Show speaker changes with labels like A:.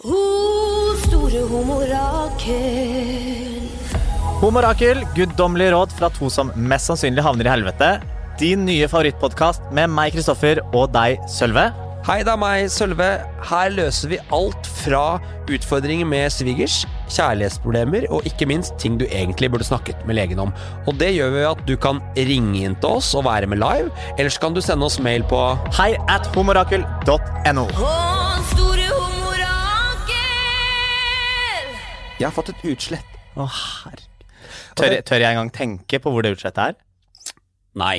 A: O store homorakel.
B: Homorakel, guddommelige råd fra to som mest sannsynlig havner i helvete. Din nye favorittpodkast med meg, Kristoffer, og deg, Sølve.
C: Hei, det er meg, Sølve. Her løser vi alt fra utfordringer med svigers, kjærlighetsproblemer og ikke minst ting du egentlig burde snakket med legen om. Og det gjør vi ved at du kan ringe inn til oss og være med live, eller så kan du sende oss mail på
B: Hei at homorakel.no.
A: Å, store homorakel.
C: Jeg har fått et utslett.
B: Å, herregud. Tør, tør jeg engang tenke på hvor det utslettet er?
C: Nei.